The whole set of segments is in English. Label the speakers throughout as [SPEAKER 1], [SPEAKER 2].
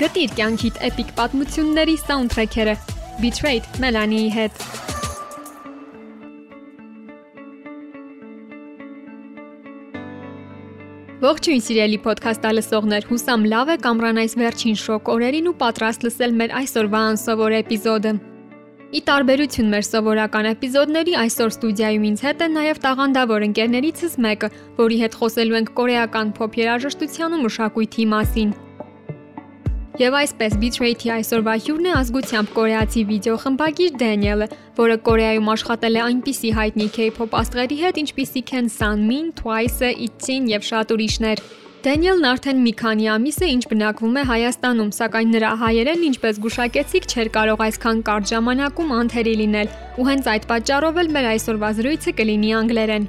[SPEAKER 1] Գտիր կյանքիդ էպիկ պատմությունների սաունդթրեքերը Betrayed Melanie-ի հետ։ Ողջույն սիրելի ոդքասթ լսողներ, հուսամ լավ է կամրանայից վերջին շոկ օրերին ու պատրաստ լսել մեր այսօրվա անսովոր էպիզոդը։ Ի տարբերություն մեր սովորական էպիզոդների, այսօր ստուդիայում ինձ հետ է նաև տաղանդավոր ընկերներիցս մեկը, որի հետ խոսելու ենք կորեական փոփ երաժշտության ու մշակույթի մասին։ Եվ այսպես Bitrate-ի այսօրվա հյուրն է ազգությամբ կորեացի վիդեոխմբագիր Դենիելը, որը Կորեայում աշխատել է այնպիսի հայտնի K-pop աստղերի հետ, ինչպիսիք են Sunmin, Twice, ITZY-ն եւ շատ ուրիշներ։ Դենիելն արդեն մի քանի ամիս է ինչ բնակվում է Հայաստանում, սակայն նրա հայերեն, ինչպես գուշակեցիք, չէր կարող այսքան կարճ ժամանակում անթերի լինել, ու հենց այդ պատճառով էլ մեր այսօրվա զրույցը կլինի անգլերեն։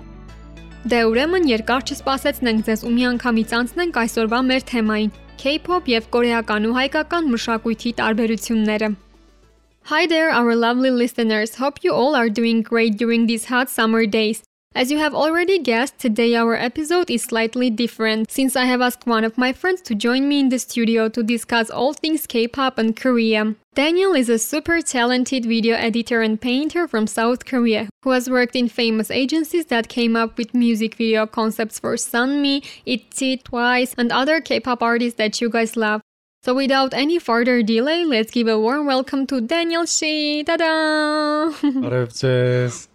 [SPEAKER 1] Դե ուրեմն երկար չսպասեցնենք ձեզ ու միանգամից անցնենք այսօրվա մեր թեմային՝ K-pop եւ կորեական ու հայկական մշակույթի տարբերությունները։ Hi there our lovely listeners. Hope you all are doing great during these hot summer days. As you have already guessed, today our episode is slightly different since I have asked one of my friends to join me in the studio to discuss all things K-pop and Korea. Daniel is a super talented video editor and painter from South Korea who has worked in famous agencies that came up with music video concepts for Sunmi, ITZY, Twice, and other K-pop artists that you guys love. So without any further delay, let's give a warm welcome to Daniel Shi. Ta-da!
[SPEAKER 2] Hello, Jess.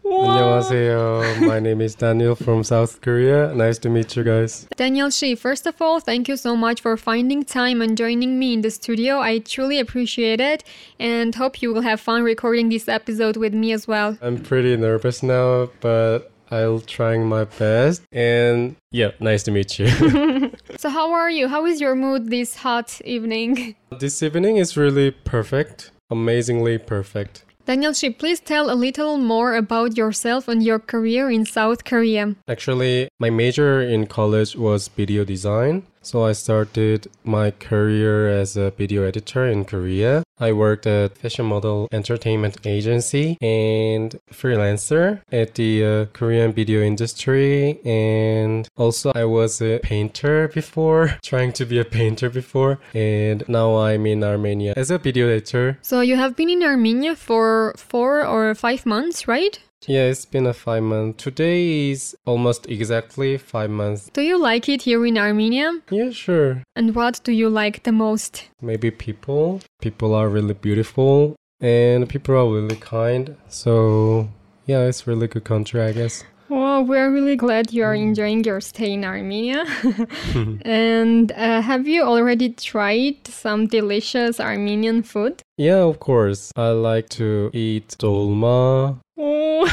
[SPEAKER 2] 안녕하세요. My name is Daniel from South Korea. Nice to meet you guys.
[SPEAKER 1] Daniel Shi, first of all, thank you so much for finding time and joining me in the studio. I truly appreciate it and hope you will have fun recording this episode with me as well.
[SPEAKER 2] I'm pretty nervous now, but I'll trying my best. And yeah, nice to meet you.
[SPEAKER 1] So, how are you? How is your mood this hot evening?
[SPEAKER 2] this evening is really perfect. Amazingly perfect.
[SPEAKER 1] Daniel Shi, please tell a little more about yourself and your career in South Korea.
[SPEAKER 2] Actually, my major in college was video design. So I started my career as a video editor in Korea. I worked at fashion model entertainment agency and freelancer at the uh, Korean video industry and also I was a painter before, trying to be a painter before and now I'm in Armenia as a video editor.
[SPEAKER 1] So, you have been in Armenia for four or five months, right?
[SPEAKER 2] Yeah, it's been a 5 month. Today is almost exactly 5 months.
[SPEAKER 1] Do you like it here in Armenia?
[SPEAKER 2] Yeah, sure.
[SPEAKER 1] And what do you like the most?
[SPEAKER 2] maybe people people are really beautiful and people are really kind so yeah it's really good country i guess
[SPEAKER 1] Well, we're really glad you are enjoying your stay in Armenia. and uh, have you already tried some delicious Armenian food?
[SPEAKER 2] yeah of course i like to eat dolma
[SPEAKER 1] Oh,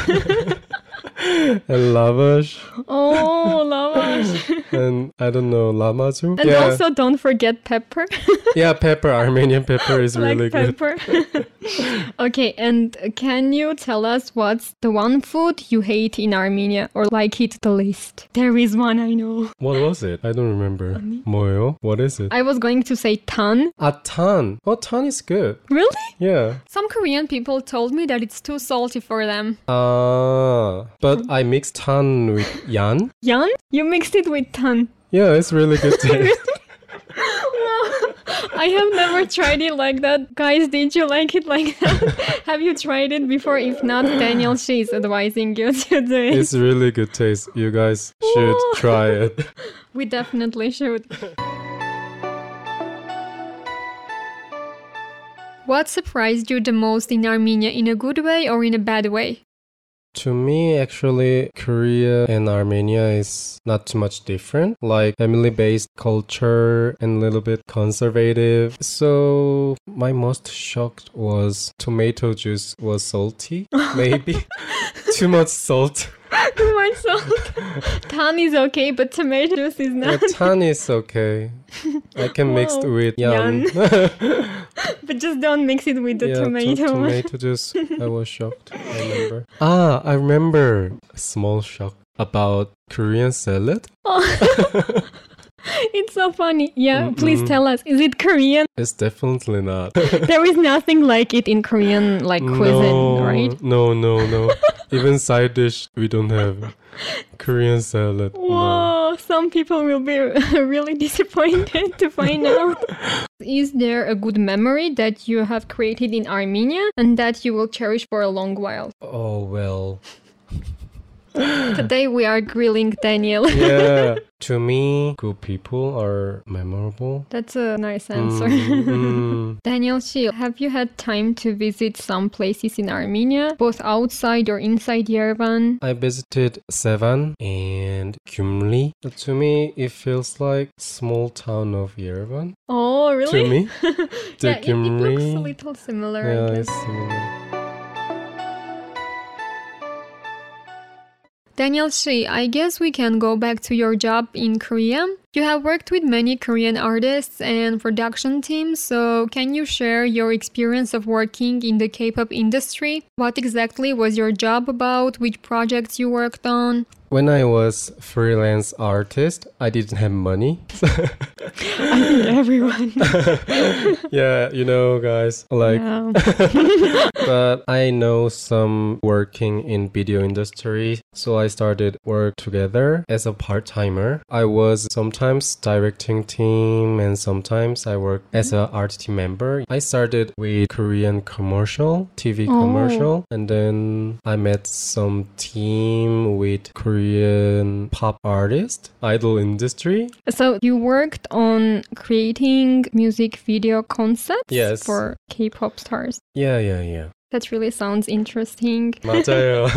[SPEAKER 2] and lavash
[SPEAKER 1] oh, lavash.
[SPEAKER 2] and i don't know lamazu
[SPEAKER 1] And
[SPEAKER 2] yeah
[SPEAKER 1] also, don't forget pepper.
[SPEAKER 2] yeah pepper armenian pepper is
[SPEAKER 1] Black
[SPEAKER 2] really good
[SPEAKER 1] pepper. okay, and can you tell us what's the one food you hate in Armenia or like it the least? There is one I know.
[SPEAKER 2] what was it i don't remember moyo what is it
[SPEAKER 1] I was going to say tan.
[SPEAKER 2] a ton oh ton is good
[SPEAKER 1] Really?
[SPEAKER 2] yeah
[SPEAKER 1] Some Korean people told me that it's too salty for them.
[SPEAKER 2] ah but i mixed ton with yan
[SPEAKER 1] Yan? You mixed it with tan.
[SPEAKER 2] yeah it's really good taste
[SPEAKER 1] I have never tried it like that. Guys, did you like it like that? have you tried it before? If not, Daniel, she is advising you to do it.
[SPEAKER 2] It's really good taste. You guys should
[SPEAKER 1] Whoa.
[SPEAKER 2] try it.
[SPEAKER 1] We definitely should. What surprised you the most in Armenia, in a good way or in a bad way?
[SPEAKER 2] to me, actually, Korea and Armenia is not too much different. Like family based culture and a little bit conservative. So, my most shocked was tomato juice was salty. Maybe too much salt.
[SPEAKER 1] Too much salt. Tan is okay, but tomato juice is
[SPEAKER 2] A
[SPEAKER 1] not.
[SPEAKER 2] ton is okay. I can mix
[SPEAKER 1] Wow.
[SPEAKER 2] with yum.
[SPEAKER 1] But just don't mix it with the
[SPEAKER 2] to-
[SPEAKER 1] tomato. one.
[SPEAKER 2] tomato juice. I was shocked. I remember. Ah, I remember. A small shock about Korean salad.
[SPEAKER 1] Oh. it's so funny. Yeah, please
[SPEAKER 2] Mm-mm.
[SPEAKER 1] tell us. Is it Korean?
[SPEAKER 2] It's definitely not.
[SPEAKER 1] there is nothing like it in Korean, like cuisine,
[SPEAKER 2] no,
[SPEAKER 1] right?
[SPEAKER 2] No, no, no. Even side dish we don't have. Korean salad. no.
[SPEAKER 1] Whoa, some people will be really disappointed to find out. Is there a good memory that you have created in Armenia and that you will cherish for a long while?
[SPEAKER 2] Oh, well.
[SPEAKER 1] Today we are grilling Daniel.
[SPEAKER 2] Yeah. to me, good people are memorable.
[SPEAKER 1] That's a nice answer.
[SPEAKER 2] Mm, mm.
[SPEAKER 1] Daniel Shi, have you had time to visit some places in Armenia, both outside or inside Yerevan?
[SPEAKER 2] I visited Sevan and Kumli. To me, it feels like small town of Yerevan.
[SPEAKER 1] Oh, really?
[SPEAKER 2] To me, the
[SPEAKER 1] yeah, it, it looks a
[SPEAKER 2] Gyumri.
[SPEAKER 1] little similar. I
[SPEAKER 2] yeah,
[SPEAKER 1] guess.
[SPEAKER 2] it's similar.
[SPEAKER 3] Daniel Shi, I guess we can go back to your job in Korea. You have worked with many Korean artists and production teams, so can you share your experience of working in the K pop industry? What exactly was your job about? Which projects you worked on?
[SPEAKER 2] When I was freelance artist, I didn't have money.
[SPEAKER 1] I think everyone.
[SPEAKER 2] yeah, you know, guys, like
[SPEAKER 1] Yeah.
[SPEAKER 2] but I know some working in video industry, so I started work together as a part timer. I was sometimes directing team and sometimes I work as an art team member. I started with Korean commercial, TV
[SPEAKER 1] Oh.
[SPEAKER 2] commercial, and then I met some team with Korean pop artist, idol industry.
[SPEAKER 1] So you worked on creating music video concepts
[SPEAKER 2] Yes.
[SPEAKER 1] for K-pop stars.
[SPEAKER 2] Yeah, yeah, yeah.
[SPEAKER 1] That really sounds interesting.
[SPEAKER 2] 맞아요.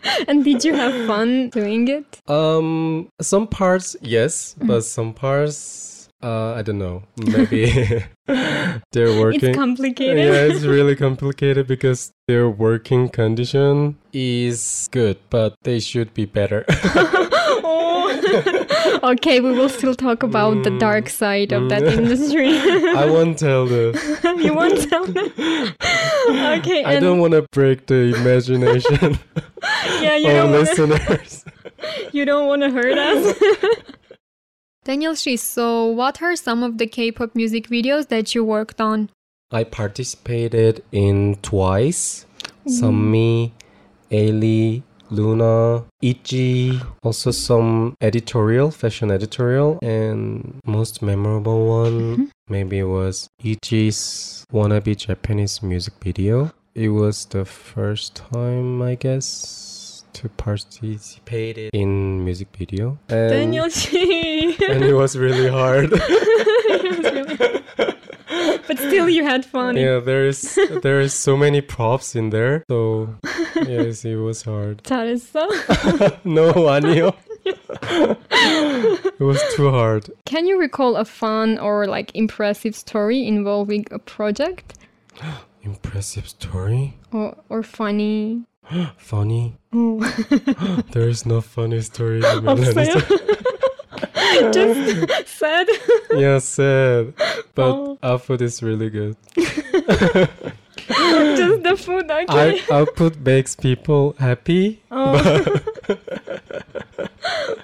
[SPEAKER 1] and did you have fun doing it?
[SPEAKER 2] Um, some parts yes,
[SPEAKER 1] Mm.
[SPEAKER 2] but some parts uh, I don't know. Maybe they're working.
[SPEAKER 1] It's complicated.
[SPEAKER 2] yeah, it's really complicated because their working condition is good, but they should be better.
[SPEAKER 1] Oh. okay, we will still talk about the dark side of that
[SPEAKER 2] Mm.
[SPEAKER 1] industry.
[SPEAKER 2] I won't tell this.
[SPEAKER 1] you won't tell. okay,
[SPEAKER 2] I
[SPEAKER 1] and
[SPEAKER 2] don't want to break the imagination
[SPEAKER 1] yeah, you
[SPEAKER 2] of
[SPEAKER 1] don't wanna,
[SPEAKER 2] listeners.
[SPEAKER 1] you don't want to hurt us.
[SPEAKER 3] Daniel Shi, so what are some of the K pop music videos that you worked on?
[SPEAKER 2] I participated in twice. Sammi, Ailey, Luna, Ichi, also some editorial, fashion editorial, and most memorable one maybe was Ichi's wannabe Japanese music video. It was the first time, I guess, to participate in music video, and,
[SPEAKER 1] Daniel Chi.
[SPEAKER 2] Um, and it was really hard.
[SPEAKER 1] but still, you had fun.
[SPEAKER 2] yeah, there is there is so many props in there, so yes, it was hard.
[SPEAKER 1] 잘했어?
[SPEAKER 2] no, 아니요. it was too hard.
[SPEAKER 1] Can you recall a fun or like impressive story involving a project
[SPEAKER 2] Impressive story.
[SPEAKER 1] or or funny?
[SPEAKER 2] Funny.
[SPEAKER 1] Oh.
[SPEAKER 2] There is no funny story. in my life.
[SPEAKER 1] Just sad.
[SPEAKER 2] yeah, sad. But
[SPEAKER 1] Oh.
[SPEAKER 2] our food is really good.
[SPEAKER 1] Just the food. Okay.
[SPEAKER 2] I output makes people happy.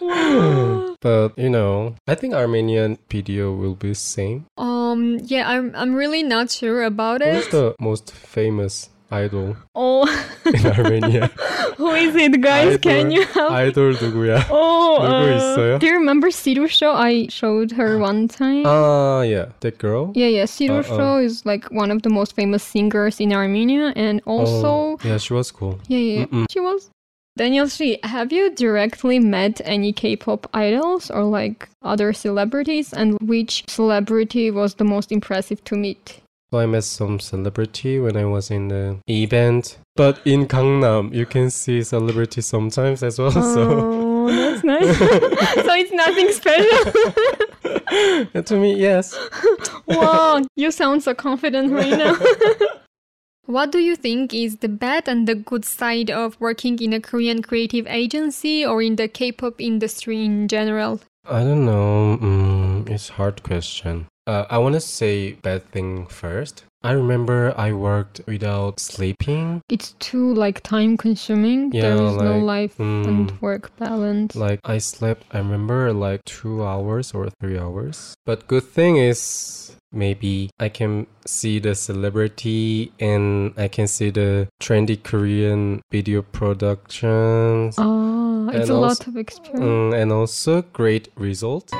[SPEAKER 1] Oh. Wow.
[SPEAKER 2] But you know, I think Armenian video will be same.
[SPEAKER 3] Um, yeah, I'm, I'm really not sure about
[SPEAKER 2] Who's
[SPEAKER 3] it.
[SPEAKER 2] the most famous idol
[SPEAKER 1] Oh,
[SPEAKER 2] in Armenia?
[SPEAKER 1] who is it, guys? Can
[SPEAKER 2] Idol-
[SPEAKER 1] you help?
[SPEAKER 2] Idol 누구야?
[SPEAKER 1] oh,
[SPEAKER 2] 누구
[SPEAKER 1] uh,
[SPEAKER 2] 있어요?
[SPEAKER 1] do you remember Siru show? I showed her one time.
[SPEAKER 2] Ah, yeah, that girl.
[SPEAKER 1] yeah, yeah. Siru
[SPEAKER 2] Uh-oh.
[SPEAKER 1] show is like one of the most famous singers in Armenia, and also.
[SPEAKER 2] oh, yeah, she was cool.
[SPEAKER 1] Yeah, yeah. yeah. She was. Daniel Shi, have you directly met any K-pop idols or like other celebrities and which celebrity was the most impressive to meet?
[SPEAKER 2] So I met some celebrity when I was in the event. But in Gangnam, you can see celebrity sometimes as well. So
[SPEAKER 1] Oh, that's nice. so it's nothing special.
[SPEAKER 2] And to me, yes.
[SPEAKER 1] wow, you sound so confident right now.
[SPEAKER 3] What do you think is the bad and the good side of working in a Korean creative agency or in the K pop industry in general?
[SPEAKER 2] I don't know. Mm, it's hard question. Uh, I want to say bad thing first. I remember I worked without sleeping.
[SPEAKER 1] It's too like time consuming. there
[SPEAKER 2] Yeah,
[SPEAKER 1] is no
[SPEAKER 2] like,
[SPEAKER 1] life
[SPEAKER 2] mm.
[SPEAKER 1] and work balance.
[SPEAKER 2] Like I slept, I remember like two hours or three hours. But good thing is maybe I can see the celebrity and I can see the trendy Korean video productions.
[SPEAKER 1] Ah, it's
[SPEAKER 2] And
[SPEAKER 1] a
[SPEAKER 2] als-
[SPEAKER 1] lot of experience.
[SPEAKER 2] Mm, and also great result.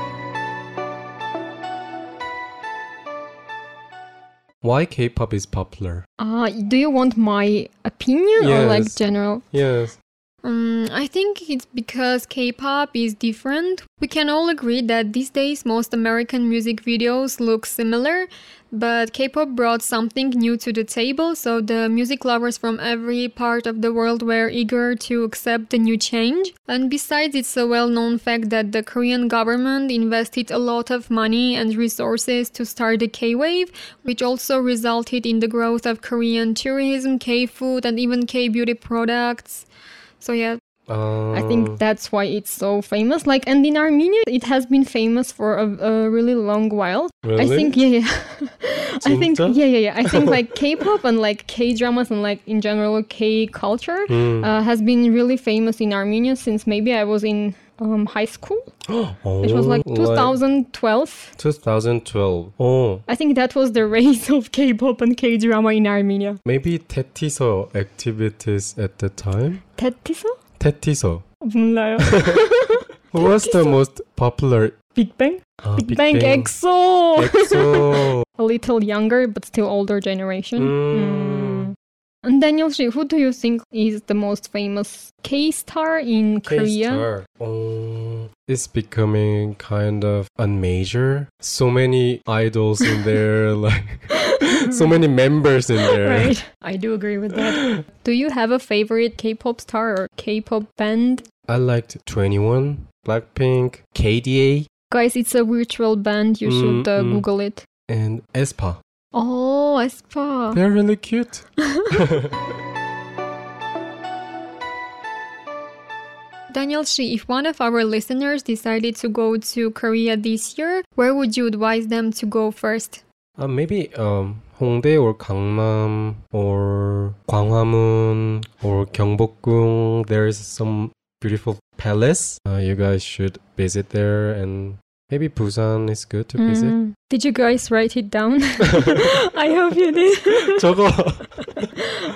[SPEAKER 2] Why K-pop is popular?
[SPEAKER 1] Ah, do you want my opinion or like
[SPEAKER 2] Yes.
[SPEAKER 1] general?
[SPEAKER 2] Yes.
[SPEAKER 4] Um, I think it's because K-pop is different. We can all agree that these days most American music videos look similar, but K-pop brought something new to the table, so the music lovers from every part of the world were eager to accept the new change. And besides, it's a well-known fact that the Korean government invested a lot of money and resources to start the K-wave, which also resulted in the growth of Korean tourism, K-food, and even K-beauty products. So yeah,
[SPEAKER 2] Um,
[SPEAKER 1] I think that's why it's so famous. Like, and in Armenia, it has been famous for a, a really long while. I
[SPEAKER 2] Really?
[SPEAKER 1] think, yeah, yeah. I think,
[SPEAKER 2] Jinta?
[SPEAKER 1] yeah, yeah, yeah. I think like K-pop and like K-dramas and like in general K culture uh, has been really famous in Armenia since maybe I was in um, high school. It was like
[SPEAKER 2] Oh,
[SPEAKER 1] 2012.
[SPEAKER 2] 2012. Oh,
[SPEAKER 1] I think that was the rise of K-pop and K-drama in Armenia.
[SPEAKER 2] maybe Tetiso activities at the time.
[SPEAKER 1] Tetiso?
[SPEAKER 2] Tetiso.
[SPEAKER 1] No.
[SPEAKER 2] Who was the most popular?
[SPEAKER 1] Big Bang?
[SPEAKER 2] Ah,
[SPEAKER 1] Big, Bang, EXO!
[SPEAKER 2] EXO.
[SPEAKER 1] A little younger, but still older generation.
[SPEAKER 2] Mm.
[SPEAKER 1] Mm. And Daniel Shi, who do you think is the most famous K-star in Korea?
[SPEAKER 2] K-star. Oh, it's becoming kind of a major. So many idols in there, like so many members in there.
[SPEAKER 1] Right. I do agree with that. Do you have a favorite K-pop star or K-pop band?
[SPEAKER 2] I liked 21, Blackpink, KDA,
[SPEAKER 1] Guys, it's a virtual band. You should uh,
[SPEAKER 2] Mm, mm.
[SPEAKER 1] Google it.
[SPEAKER 2] and aespa.
[SPEAKER 1] Oh, Aespa.
[SPEAKER 2] They're really cute.
[SPEAKER 4] Daniel Shi, if one of our listeners decided to go to Korea this year, where would you advise them to go first?
[SPEAKER 2] Uh, maybe um, Hongdae or Gangnam or Gwanghwamun or Gyeongbokgung. There is some beautiful palace. Uh, you guys should visit there, and maybe Busan is good to visit.
[SPEAKER 1] Mm. Did you guys write it down? I hope you did.
[SPEAKER 2] 저거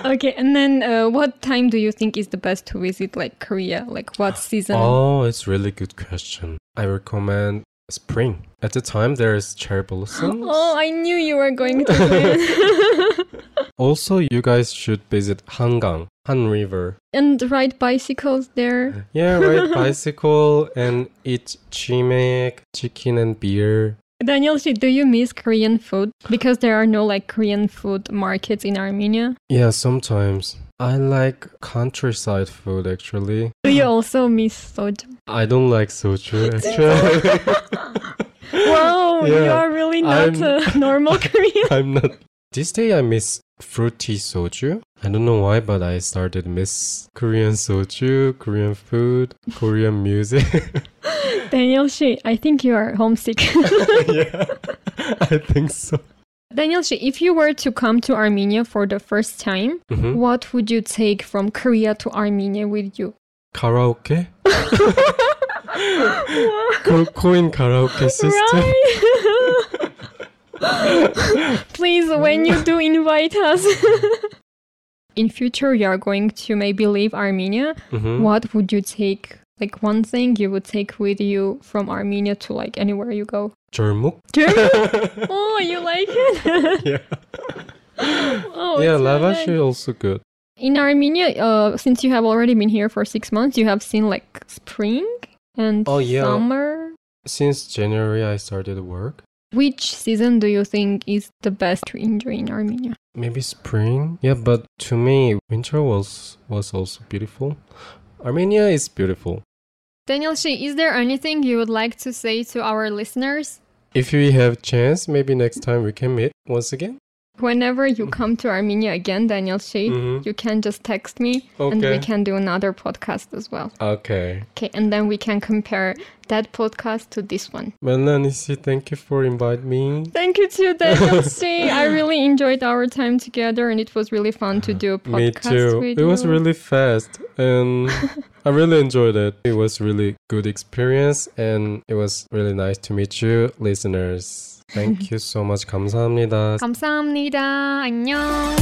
[SPEAKER 1] okay, and then uh, what time do you think is the best to visit like Korea? Like what season?
[SPEAKER 2] Oh, it's really good question. I recommend spring. At the time, there is cherry blossom.
[SPEAKER 1] Oh, I knew you were going to win.
[SPEAKER 2] Also, you guys should visit Hangang, Han River.
[SPEAKER 1] and ride bicycles there.
[SPEAKER 2] Yeah, ride bicycle and eat chimek, chicken and beer.
[SPEAKER 1] Daniel, Shi, do you miss Korean food? Because there are no like Korean food markets in Armenia.
[SPEAKER 2] Yeah, sometimes. I like countryside food actually.
[SPEAKER 1] Do you also miss soju?
[SPEAKER 2] I don't like soju actually.
[SPEAKER 1] Wow, you
[SPEAKER 2] Yeah,
[SPEAKER 1] are really not
[SPEAKER 2] I'm-
[SPEAKER 1] a normal Korean.
[SPEAKER 2] I'm not. This day I miss fruity soju. I don't know why, but I started miss Korean soju, Korean food, Korean music.
[SPEAKER 1] Daniel, Shi, I think you are homesick.
[SPEAKER 2] yeah, I think so.
[SPEAKER 1] Daniel, Shi, if you were to come to Armenia for the first time,
[SPEAKER 2] Mhm.
[SPEAKER 1] what would you take from Korea to Armenia with you?
[SPEAKER 2] Karaoke? Ko- Korean karaoke system.
[SPEAKER 1] Right. Please, when you do invite us. In future, you are going to maybe leave Armenia.
[SPEAKER 2] Mhm.
[SPEAKER 1] What would you take? Like one thing you would take with you from Armenia to like anywhere you go.
[SPEAKER 2] Jermuk?
[SPEAKER 1] Germany. oh, you like it?
[SPEAKER 2] Yeah.
[SPEAKER 1] oh,
[SPEAKER 2] yeah,
[SPEAKER 1] it's so nice.
[SPEAKER 2] lavash is also good.
[SPEAKER 1] In Armenia, uh, since you have already been here for six months, you have seen like spring and
[SPEAKER 2] Oh, yeah.
[SPEAKER 1] summer.
[SPEAKER 2] Since January, I started work.
[SPEAKER 1] Which season do you think is the best to enjoy in Armenia?
[SPEAKER 2] Maybe spring. Yeah, but to me, winter was was also beautiful. Armenia is beautiful.
[SPEAKER 4] Daniel Shi, is there anything you would like to say to our listeners?
[SPEAKER 2] If we have chance, maybe next time we can meet once again.
[SPEAKER 5] Whenever you come to Armenia again, Daniel Shi,
[SPEAKER 2] Mhm.
[SPEAKER 5] you can just text me and we
[SPEAKER 2] Okay.
[SPEAKER 5] can do another podcast as well.
[SPEAKER 2] Okay.
[SPEAKER 5] Okay, and then we can compare that podcast to this one.
[SPEAKER 2] Melanisi, thank you for inviting me.
[SPEAKER 5] Thank you to Daniel Shi. I really enjoyed our time together and it was really fun to do a podcast
[SPEAKER 2] Me too.
[SPEAKER 5] with
[SPEAKER 2] It was
[SPEAKER 5] you.
[SPEAKER 2] really fast and I really enjoyed it. It was really good experience and it was really nice to meet you listeners. Thank you so much. 감사합니다.
[SPEAKER 1] Kamsahamnida. Annyeong.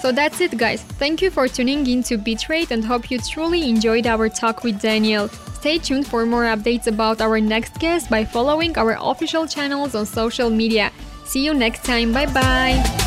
[SPEAKER 1] So that's it, guys. Thank you for tuning in to Bitrate and hope you truly enjoyed our talk with Daniel. Stay tuned for more updates about our next guest by following our official channels on social media. See you next time. Bye bye.